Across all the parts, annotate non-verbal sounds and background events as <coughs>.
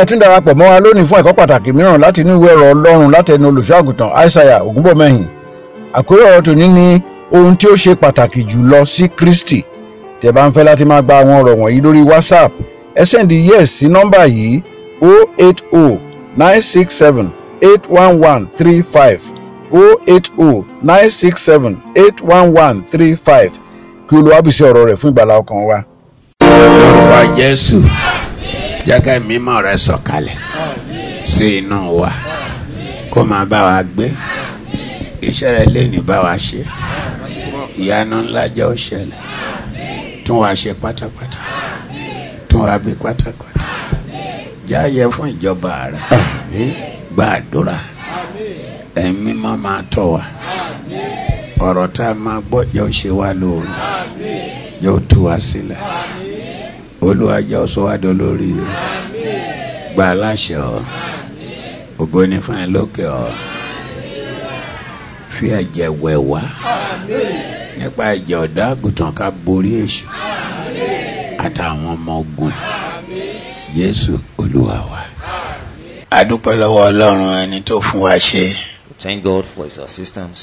ẹ tún darapọ̀ mọ́ wa lónìí fún ẹ̀kọ́ pàtàkì mìíràn láti inú ìwé ọ̀rọ̀ ọlọ́run láti ẹnu olùṣọ́àgùntàn aishaiya ògúnbọ̀mẹ́hìn àkórí ọ̀rọ̀ tòní ni ohun tí ó ṣe pàtàkì jùlọ sí kristi tẹ́ bá ń fẹ́ láti máa gba àwọn ọ̀rọ̀ wọ̀nyí lórí whatsapp ẹ sẹ́ndí yes sí nọ́mbà yìí 08096781135 08096781135 kí olùwàbùsí ọ̀rọ̀ rẹ̀ fún ìgbàlá ọkàn wa. lórúkọ jésù jẹ́ kí mímọ́ rẹ sọ̀kalẹ̀ sí inú wa kó máa bá wa gbé iṣẹ́ rẹ léèní bá wa ṣe ìyanu ńlá jẹ́ ó ṣẹlẹ̀ tún wa ṣe pátápátá tún wa bí pátápátá jáyẹ fún ìjọba rẹ gba àdúrà ẹ̀mí mọ́ máa tọ̀ wá ọ̀rọ̀ tá a máa gbọ́ jẹ́ ó ṣe wá lóore jẹ́ ó tú wa sílẹ̀ olúwa jẹ́ ọ̀ṣọ́wádọ́ lórí rẹ̀ gba aláṣẹ ọ ògo ní fún ẹ lókè ọ fi ẹ̀jẹ̀ wẹ̀ wá nípa ẹ̀jẹ̀ ọ̀dọ́ àgùntàn ká borí èṣù àtàwọn ọmọ ogun jésù olúwa wa. adúpẹ́ lọ́wọ́ ọlọ́run ẹni tó fún wa ṣe Thank God for His assistance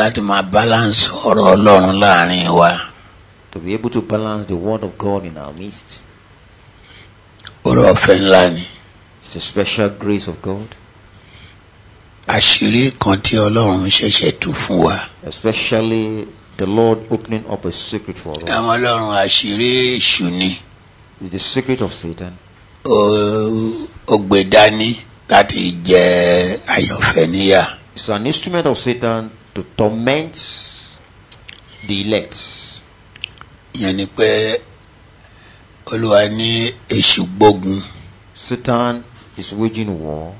láti máa balance ọ̀rọ̀ ọlọ́run láàrin wa to be able to balance the word of God in our midst. orí ọ̀fẹ́ ńlá ni It's a special grace of God, àṣírí kan tí ọlọ́run ṣẹ̀ṣẹ̀ tú fún wa. especially the Lord opening up a secret for us. àwọn ọlọ́run àṣírí èṣù ni It's the secret of Satan. ó- ó gbé dání láti jẹ àyànfẹ́ níyà. It's an instrument of Satan to torment the elect. ìyẹn ni pé olúwa ní èṣù gbógun Satan is waging war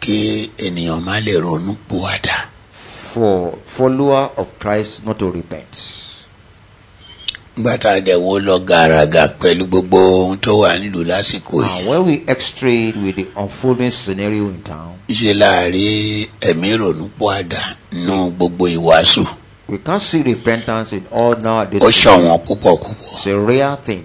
kí ènìyàn má lè ronú pòwàdà. for follower of Christ not to repent. nígbà tá a dẹ̀ wó lọ gàràgà pẹ̀lú gbogbo ohun tó wà nílùú lásìkò And yìí when we extrade with the unfolding scenario in town, ṣe láàrin ẹ̀mí ronú pòwàdà nínú gbogbo ìwàásù we can't see repentance in all nowadays. ó ṣọ̀wọ́n púpọ̀ púpọ̀. It's a rare thing.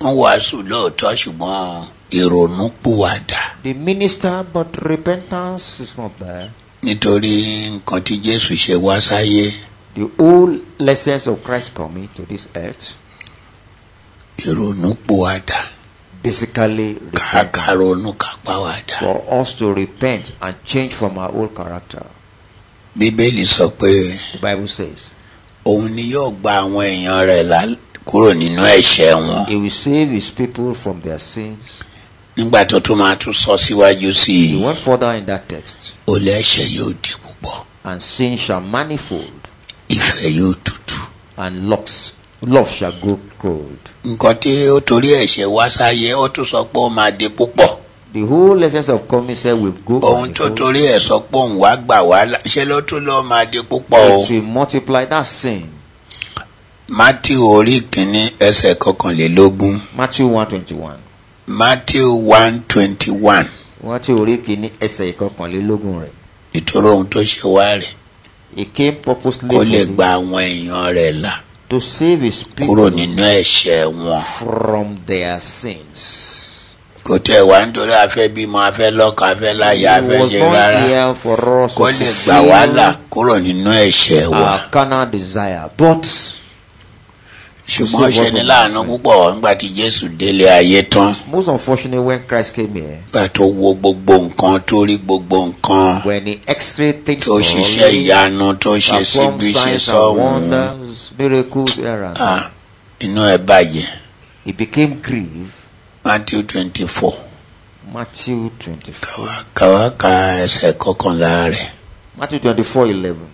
wọ́n wàásù lóòótọ́ ṣùgbọ́n ìrònú pòwàdà the minister, but repentance is not there. nítorí nǹkan tí jésù ṣe wá sáyé The whole lessons of Christ coming to this earth ìrònú pòwàdà basically <coughs> repent. kàkà ronú kápáwàdà. for us to repent and change from our old character. bíbélì sọ pé The Bible says òun ni yóò gba àwọn èèyàn rẹ̀ là kúrò nínú ẹ̀ṣẹ̀ wọn he will save his people from their sins. nígbà tó tún máa tún sọ síwájú sí i He went further in that text, olè ẹ̀ṣẹ̀ yóò di púpọ̀ and sin shall manifold, ìfẹ́ yóò tutù. and locks, love shall grow cold. nǹkan tí ó torí ẹ̀ṣẹ̀ wá sáyé ó tún sọ pé ó máa di púpọ̀ The whole lessons of coming said will go ohun tó manifold. torí ẹ̀ sọ pé òun wá gbà wá là- ṣe ló tún lọ́ọ́ máa di púpọ̀ o. It will multiply that sin. matthew orí kìíní ẹsẹ̀ kọkànlélógún Matthew one twenty one. matthew one twenty one wọ́n tí orí kìíní ẹsẹ̀ ìkọkànlélógún rẹ̀ nítorí ohun tó ṣe wá rẹ̀ he came purposely kó lè for gba àwọn èèyàn rẹ̀ là to save his kúrò people nínú ẹ̀ṣẹ̀ wọn from their sins. kò tẹ̀ wá nítorí afẹ́ bímọ afẹ́ lọ́kọ afẹ́ láyà he afẹ́ was ṣe born rárá here for us kó to lè gbà wá là fulfill kúrò nínú ẹ̀ṣẹ̀ wa our carnal desire but ṣùgbọ́n ṣe ṣe wọ́n ni tó láàánú máa ṣe. púpọ̀ nígbà tí jésù délé ayé tán most unfortunately when Christ came here nígbà tó wo gbogbo nǹkan tó rí gbogbo nǹkan when he x-rayed things tó all ṣiṣẹ́ ìyanu tó ṣe performed síbi ṣe signs and sọ́hun wonders miracles here and Ah, inú ẹ̀ bàjẹ́ he became grieved matthew twenty four Matthew twenty four kàwá ka ẹsẹ̀ kọkànlá rẹ̀ Matthew twenty four eleven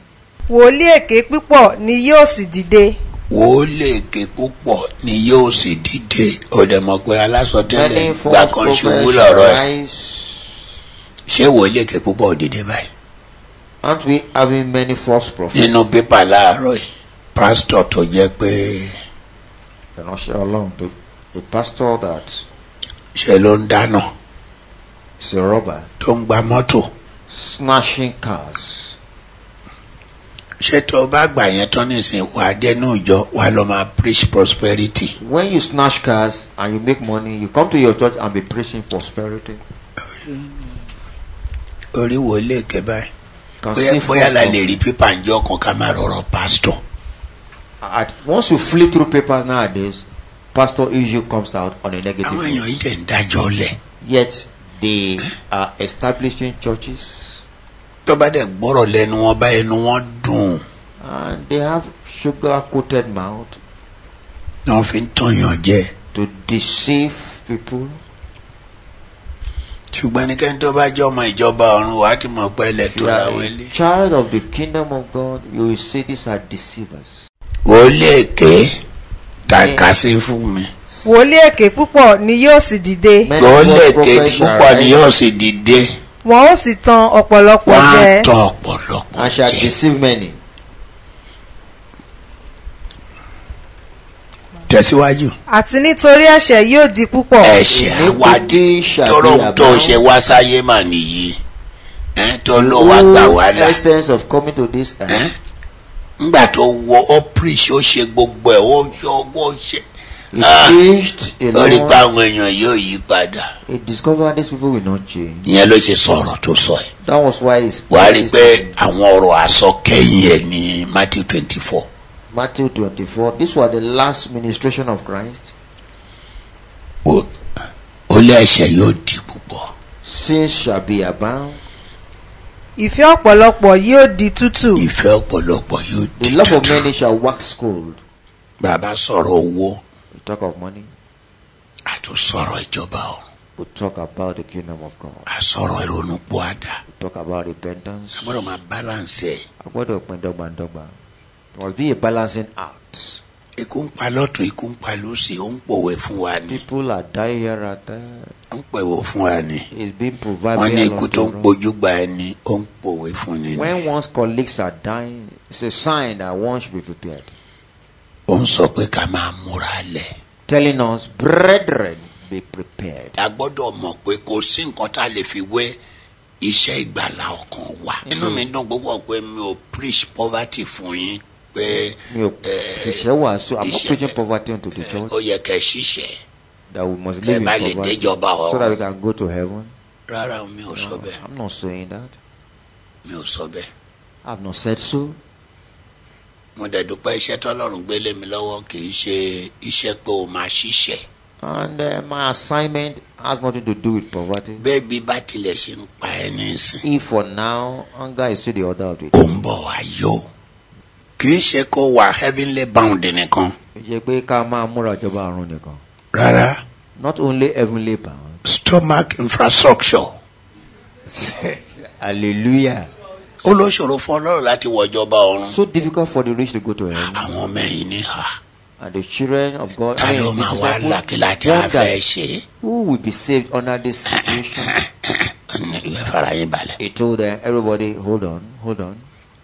wòlíì èké púpọ̀ ni yóò sì dìde wò ó léèké púpọ̀ ni yóò sì dìde ọ̀dẹ̀mọ̀ pé alásọtẹ́lẹ̀ many gbà false kan ṣubú prophets lọ́rọ̀ ẹ̀ rise. ṣé wò ó léèké púpọ̀ ò dìde báyìí Aren't we having many false prophets? nínú pépà láàárọ̀ yìí pásítọ̀ tó jẹ́ pé They're not sure alone. The, the pastor that ṣe ló ń dáná is a robber, tó ń gba mọ́tò snatching cars, ṣé tó o bá gbà yẹn tán nísìnyí wà á dé inú ìjọ wà á lọ máa preach prosperity When you snatch cars and you make money, you come to your church and be preaching prosperity. orí wo lè ké báyìí Can bóyá see bóyá la fruit lè of- rí pípa ǹjọ́ kan ká máa rọrọ̀ pásítọ̀ at- Once you flip through papers nowadays, pastor issue comes out on a negative. àwọn note. èèyàn yìí dẹ̀ ń dájọ́ lẹ̀ Yet they are establishing churches tó bá dẹ̀ gbọ́rọ̀ lẹ́nu wọn bá ẹnu wọn dùn and they have sugar-coated mouth ni wọ́n fi ń tọ̀yàn jẹ to deceive people. ṣùgbọ́n ẹnikẹ́ni tó bá jẹ́ ọmọ ìjọba ọ̀run wàá ti mọ̀ pé ilẹ̀ If tó you ra are wọlé. a eh, child of the kingdom of God, you will see these are deceivers. wòlíì èké tàkàsí fún mi wòlíì èké púpọ̀ ni yóò sì dìde Many wòlíì false èké prophets shall púpọ̀ ni rise yóò sì dìde wọn ó sì tan ọ̀pọ̀lọpọ̀ wọ́n á jẹ tọ ọ̀pọ̀lọpọ̀ and shall jẹ deceive many. tẹ̀síwájú àti nítorí ẹ̀ṣẹ̀ yóò di púpọ̀ ẹ̀ṣẹ̀ àwádìí Iniquity shall be tọ́rọ̀ tó abound. ṣe wá sáyé mà nìyí ẹ̀ tó ló wá gbà wá Whole là essence of coming to this ẹ̀ earth ńgbà tó wọ ọ́pírìṣì ó ṣe gbogbo ẹ̀ ó ṣe ọwọ́ ṣe is Ah. preached ó rí pa alone. àwọn èèyàn yóò yí padà He discovered these people will not change. ìyẹn ló ṣe sọ̀rọ̀ tó sọ ẹ̀ That was why he wàá spoke rí this pé thing. àwọn ọ̀rọ̀ àsọkẹ́yìn ẹ̀ ní Matthew twenty four Matthew 24. These were the last ministration of Christ. ó lé ẹ̀ṣẹ̀ yóò di púpọ̀. Sins shall be abound. ìfẹ́ ọ̀pọ̀lọpọ̀ yóò di tútù ìfẹ́ ọ̀pọ̀lọpọ̀ yóò di The love of tútù. many shall wax cold. bàbá sọ̀rọ̀ owó We talk of money. àtún sọ̀rọ̀ ìjọba ọ̀run We talk about the kingdom of God. àsọ̀rọ̀ ìrònúpọ̀ àdá We talk about repentance. gbọ́dọ̀ máa balance ẹ̀ Agbọ́dọ̀ pin dọ́gbandọ́gba. There must be a balancing act. ikú ń pa lọ́tún ikú ń pa lósì ó ń pòwe fún wa ni People are dying here and there. ó ń pòwe fún wa ni It's being wọ́n provided. ní along ikú the tó ń road. pojú gba ẹni ó ń pòwe fún ni ni When one's colleagues are dying, it's a sign that one should be prepared. ó ń sọ pé ká máa múra lẹ̀ Telling us, brethren, be prepared. a gbọ́dọ̀ mọ̀ pé kò sí nǹkan tá a lè fi wé iṣẹ́ ìgbàlá ọkàn wa inú mi dùn púpọ̀ pé mi ò preach poverty fún yín pé mi ò ṣiṣẹ́ wàásù i'm not iṣẹ́- preaching poverty unto the church ó yẹ kẹ́ ẹ ṣiṣẹ́ that we must ẹ live in bá lè poverty déjọba so that we ọ̀run can go to heaven rárá o, mi ò sọ No, bẹ́ẹ̀ i'm not saying that mi ò sọ bẹ́ẹ̀ i've not said so mo dẹ̀ dúpẹ́ iṣẹ́ tọ́lọ́run gbé lé mi lọ́wọ́ kì í ṣe iṣẹ́ pé o máa ṣiṣẹ́ and uh, my assignment has nothing to do with poverty bẹ́ẹ̀ bí bá tilẹ̀ ṣe ń pa ẹ́ nísìn if for now hunger is still the order of the ó day ń bọ̀ wá yó kì í ṣe kó wà heavenly bound nìkan kì í ṣe pé ká máa múra ìjọba àrùn nìkan rárá not only heavenly bound <laughs> stomach infrastructure hallelujah ó ló ṣòro fún ọlọ́run láti wọ ìjọba ọ̀run so difficult for the rich to go to heaven àwọn ọmọ ẹ̀yìn ní ha and the children of god ta i ló mean the máa wá disciples lákìláti afẹ́ wonder ṣe who will be saved under this situation Ní ìwé fara yín balẹ̀. he told them everybody hold on hold on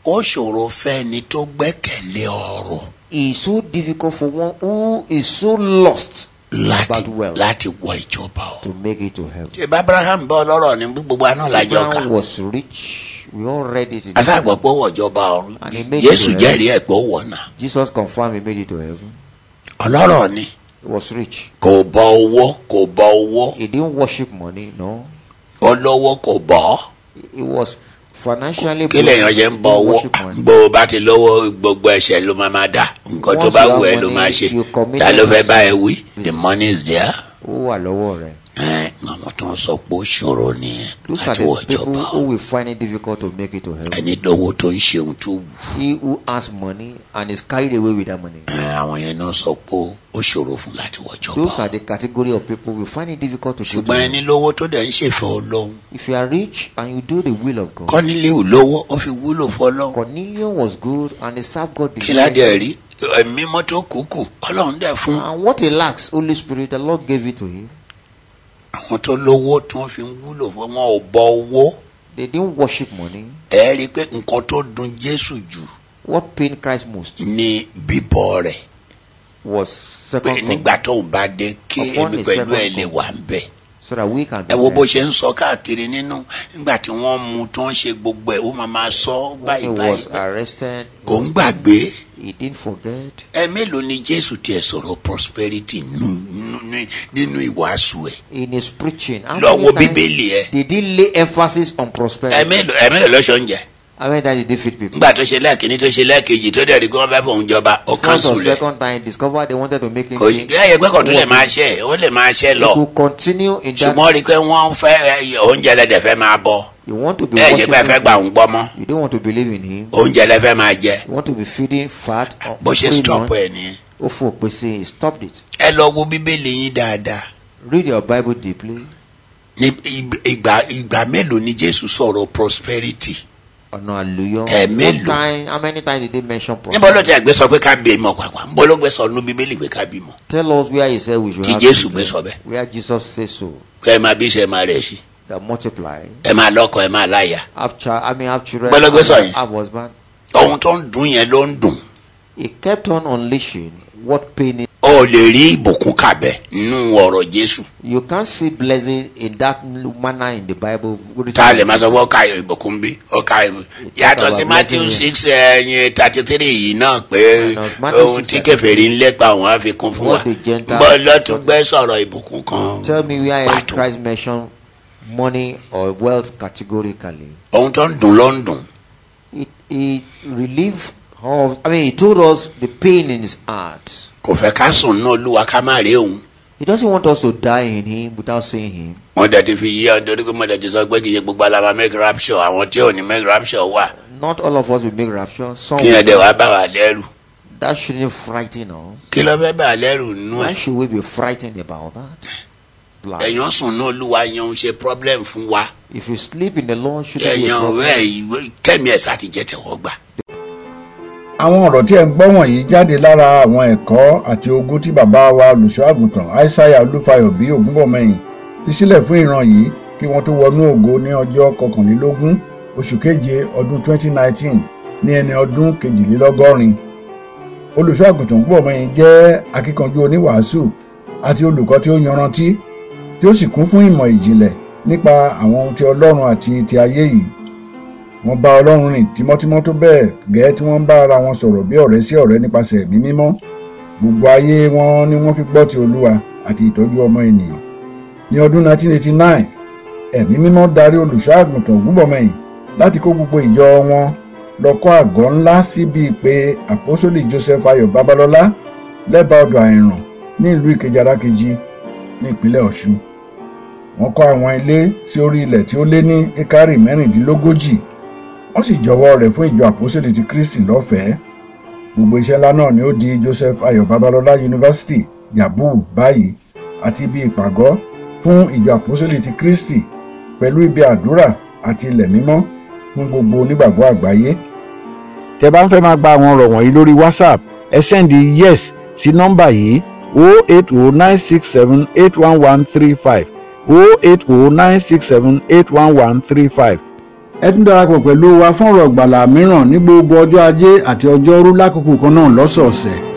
ó ṣòro fẹ́ni tó gbẹ́kẹ̀lé ọ̀rọ̀ It's so difficult for one who is so lost láti about wealth láti wọ ìjọba ọ̀run. to make it to heaven. ṣé abraham bá ọlọ́rọ̀ ní gbogbo àná lájọ ká Abraham was rich. We all read it. In the aṣáàgbọ̀ Bible. pé ó wọ ìjọba ọ̀run And he made jésù it to jẹ́rìí ẹ̀ pé ó wọ̀ náà Jesus confirmed he made it to heaven. ọlọ́rọ̀ ni He was rich. kò bọ owó kò bọ owó He didn't worship money. No, olówó kò bọ̀ ọ́ he was financially. kí lèèyàn ṣe ń bọ He owó didn't worship money. bó o bá ti lówó gbogbo ẹ̀ṣẹ̀ ló máa máa dà nǹkan tó Once bá you wù have ẹ́ ló money, máa ṣe you commit ta ló fẹ́ it. bá ẹ wí the money is there. Ó wà lọ́wọ́ rẹ̀. Ẹ́, àwọn tó ń sọ pé ó ṣòro nìyẹn Those are láti wọ the people ìjọba who ọ̀run. will find it difficult to make it to heaven. ẹni lówó tó ń ṣeun tó wù He who has money and is carried away with that money. ẹ, àwọn yẹn náà sọ pé ó ṣòro fún láti wọjọba Those are the category of people who find it difficult to. go to ṣùgbọ́n heaven. ẹni lówó tó dẹ̀ ń ṣèfẹ́ ọlọ́run If you are rich and you do the will of God, kọ́nílé ò lówó ó fi wúlò fún ọlọ́run Cornelius was good and he served God. kí ládé ẹ̀ diligently. rí ẹ̀mí mọ́tò kúkú ọlọ́run dẹ̀ fún And what he lacks, Holy Spirit, the Lord gave it to him. àwọn tó lówó tó ń fi wúlò fún wọn ò bọ owó They didn't worship money. ẹ rí i pé nǹkan tó dùn jésù jù What pained Christ most ní bíbọ rẹ̀ was pé second nígbà coming. tóun bá dé kí Upon èmi his pẹ̀lú ẹ̀ second lè coming. wà ń bẹ̀ so that we can ẹ wo be bó blessed. ṣe ń sọ káàkiri nínú nígbà tí wọ́n mu tí wọ́n ṣe gbogbo ẹ̀ ó máa máa sọ He báyìí báyìí was arrested. kò ń gbàgbé He didn't forget. ẹ mélòó ni jésù tiẹ̀ sọ̀rọ̀ prosperity nù- nù- ní- nínú ìwàásù ẹ̀ In his preaching, how lọ wo many times bíbélì ẹ̀ did he lay emphasis on ẹ prosperity? mélòó ẹ mélòó lọ́sọ̀ ń jẹ How many times did he feed people? nígbà tó ṣe lẹ́ẹ̀kínní tó ṣe lẹ́ẹ̀kejì tó dẹ̀ rí kí wọ́n fẹ́ fòun jọba ó First or kánṣu rẹ̀ second time, discovered they wanted to make him kò king. yẹ ẹyẹ pé kò tún lè máa ṣe ẹ̀, ó lè máa ṣe lọ He could continue in that. ṣùgbọ́n rí i pé wọ́n fẹ́ ẹ, oúnjẹ lẹ́dẹ̀ fẹ́ máa bọ You want to be ẹ ṣe pé ẹ fẹ́ gbà worshiping. ń gbọ́ mọ́ You don't want to believe in him. oúnjẹ lẹ́fẹ́ máa jẹ You want to be feeding fat. or bó ṣe three stop months. ẹ̀ nìyẹn. Oh, for pèsè, he stopped it. ẹ lọ wo bíbélì yín dáadáa Read your Bible deeply. ní ig- ìgbà ìgbà mélòó ni jésù sọ̀rọ̀ prosperity ọ̀nà àlùyọ. Eh, mélòó? time how many times did they mention níbo ló prophet? ti àgbẹ̀ sọ pé ká bímọ pàpà níbo ló gbé sọ nú bíbélì pé ká bímọ tell us where he said we should Tí have Jésù children. gbé sọ bẹ́ẹ̀. where Jesus say so kẹ́ ẹ máa bí iṣẹ́ máa rẹ̀ sí that multiply ẹ máa lọ́kọ ẹ máa láyà have child I mean have children Gbọ́dọ̀ gbé sọ have- yẹn. have husband. ohun tó ń dùn yẹn ló ń dùn he kept on unleashing what pain is. ó lè rí ìbùkún kàbẹ̀ nínú ọ̀rọ̀ jésù you can see blessing in that manner in the Bible. Good tá a lè máa sọ pé ọkà ìbùkún bí ọkà ìbùkún yàtọ̀ sí matthew six ẹyin thirty three yìí náà pé ohun tí kèfèrí ń lépa òun á fi kún fún wa bọ́ lọ́tún gbé sọ̀rọ̀ ìbùkún kan tell me where else pàtó. Christ mention money or wealth categorically. ohun tó ń dùn ló ń dùn It it relieved of I mean he told us the pain in his heart. kò fẹ́ ká sùn náà olúwa ká má rí òun He doesn't want us to die in him without seeing him. wọ́n dẹ̀ ti fi yí ọ́n torí pé mo dẹ̀ ti sọ pé kì í ṣe gbogbo alaba make rapture àwọn tí ò ní make rapture wà Not all of us will make rapture. Some kí ẹ̀ dẹ̀ wá bá wa lẹ́rù that shouldn't frighten us. kí ló fẹ́ bá a lẹ́rù nú Why ẹ̀ should we be frightened about that? Like, ẹ̀yàn sùn náà olúwa yẹn ń ṣe problem fún wa if you sleep in the Lord, shouldn't be a ẹ̀yàn problem. ọ̀rẹ́ yìí kẹ́mi ẹ̀ sá ti jẹ́ tẹ̀wọ́ gbà. àwọn ọ̀rọ̀ tí ẹ̀ ń gbọ́ wọ̀nyí jáde lára àwọn ẹ̀kọ́ àti ogún tí bàbá wa olùṣọ́ àgùntàn aishaiya olúfayọ bí ògúnbọ̀mọyìn fi sílẹ̀ fún ìran yìí kí wọ́n tó wọnú ògo ní ọjọ́ kọkànlélógún oṣù keje ọdún 2019 ní ẹni ọdún kejìlélọ́gọ́rin olùṣọ́ àgùntàn ògúnbọ̀mọyìn jẹ́ akíkanjú oníwàásù àti olùkọ́ tí ó yanrantí tí ó sì kún fún ìmọ̀ ìjìnlẹ̀ nípa àwọn ohun ti ọlọ́run àti ti ayé yìí wọ́n bá ọlọ́run rìn tímọ́tímọ́ tó bẹ́ẹ̀ gẹ́ẹ́ tí wọ́n bá ara wọn sọ̀rọ̀ bí ọ̀rẹ́ sí ọ̀rẹ́ nípasẹ̀ ẹ̀mí mímọ́ gbogbo ayé wọn ni wọ́n fi gbọ́ ti olúwa àti ìtọ́jú ọmọ ènìyàn ní ọdún 1989 ẹ̀mí mímọ́ darí olùṣọ́ àgùntàn ògúnbọ̀mọyìn láti kó gbogbo ìjọ wọn lọ kọ́ àgọ́ ńlá síbi pé àpọ́sólì joseph ayọ̀ babalọ́lá lẹ́bàá ọdọ̀ àìràn ní ìlú ìkejì arákejì ní ìpínlẹ̀ ọ̀ṣun wọ́n kọ́ àwọn ilé sí orí ilẹ̀ tí ó lé ní ekari mẹ́rìndínlógójì wọ́n sì jọ̀wọ́ rẹ̀ fún ìjọ àpòsílẹ̀ ti kristi lọ́fẹ̀ẹ́ gbogbo iṣẹ́ ńlá náà ni ó di joseph ayọ̀ babalọ́lá yunifásitì yabu báyìí àti ibi ìpàgọ́ fún ìjọ àpòsílẹ̀ ti kristi pẹ̀lú ibi àdúrà àti ilẹ̀ mímọ́ fún gbogbo onígbàgbọ́ àgbáyé. tẹ bá ń fẹ́ máa gba àwọn ọ̀rọ̀ wọ̀nyí lórí whatsapp ẹ sẹ́ndí yes sí nọ́mbà yìí 08096781135 08096781135 ẹ tún darapọ̀ pẹ̀lú wa fún ọ̀rọ̀ ìgbàlà mìíràn ní gbogbo ọjọ́ ajé àti ọjọ́rú lákòókò kan náà lọ́sọ̀ọ̀sẹ̀